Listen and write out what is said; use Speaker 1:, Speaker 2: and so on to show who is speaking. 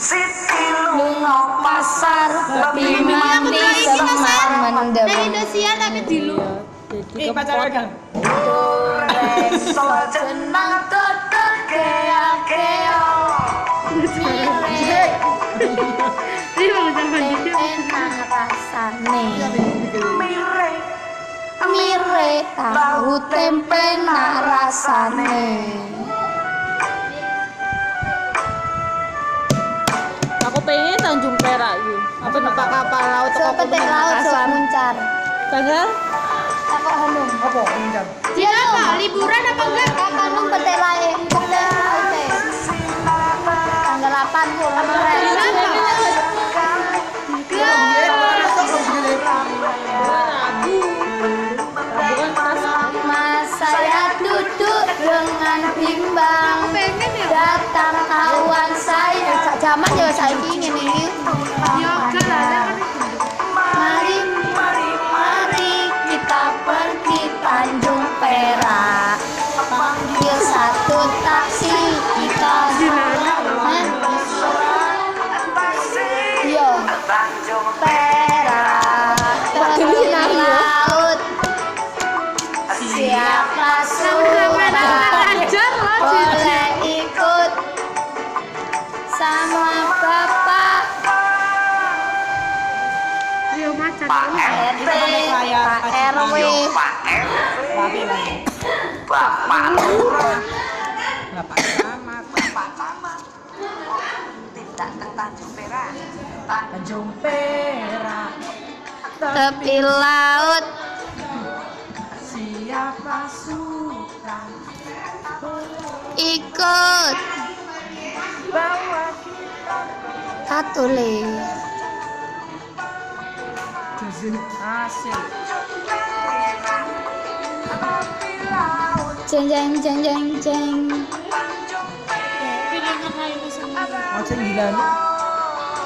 Speaker 1: Siti
Speaker 2: Lino pasar babi mandi semar mendem.
Speaker 3: Nang Indonesia tapi dilu.
Speaker 4: Eh, pacaran gang.
Speaker 2: Senang tetep kea kea. Enak rasane.
Speaker 1: Mire
Speaker 2: Mire tahu tempe nak rasane.
Speaker 4: Aku pengen Tanjung Perak iki. Apa numpak kapal laut teko
Speaker 2: Sepetik laut sok muncar.
Speaker 4: Tanggal
Speaker 2: Takok hanum.
Speaker 4: apa? Pinjam.
Speaker 3: Dia apa? Liburan apa enggak?
Speaker 2: Kak hanum petik lae. Petik lae. Tanggal 8 pulang Ren.
Speaker 4: Rabu. Rabu kan pas
Speaker 2: Mas saya duduk dengan bimbang
Speaker 3: Pengen ya?
Speaker 2: datang kawan saya Sak jaman ya saiki ngene iki
Speaker 3: Ya enggak lah. Nek kan
Speaker 2: mari mari mari kita pergi Tanjung Perak panggil satu taksi kita Hah? Ya. yo
Speaker 1: Tanjung
Speaker 2: Perak pergi laut siapa suka
Speaker 3: ajar lah.
Speaker 2: boleh ikut sama bapak
Speaker 3: Yo macan.
Speaker 1: Pak RT
Speaker 2: RT Pak RW
Speaker 1: Pak RT
Speaker 4: Rabi lagi.
Speaker 1: Bapak Lurah
Speaker 4: Bapak Camat.
Speaker 1: Bapak Camat Tidak ke Tanjung Perak
Speaker 4: Tanjung Perak.
Speaker 2: tepi laut
Speaker 4: Siapa suka
Speaker 2: ikut
Speaker 4: bawa
Speaker 2: katule
Speaker 4: dusun asik.
Speaker 2: jeng jeng jeng jeng jeng
Speaker 4: Ojo gilani.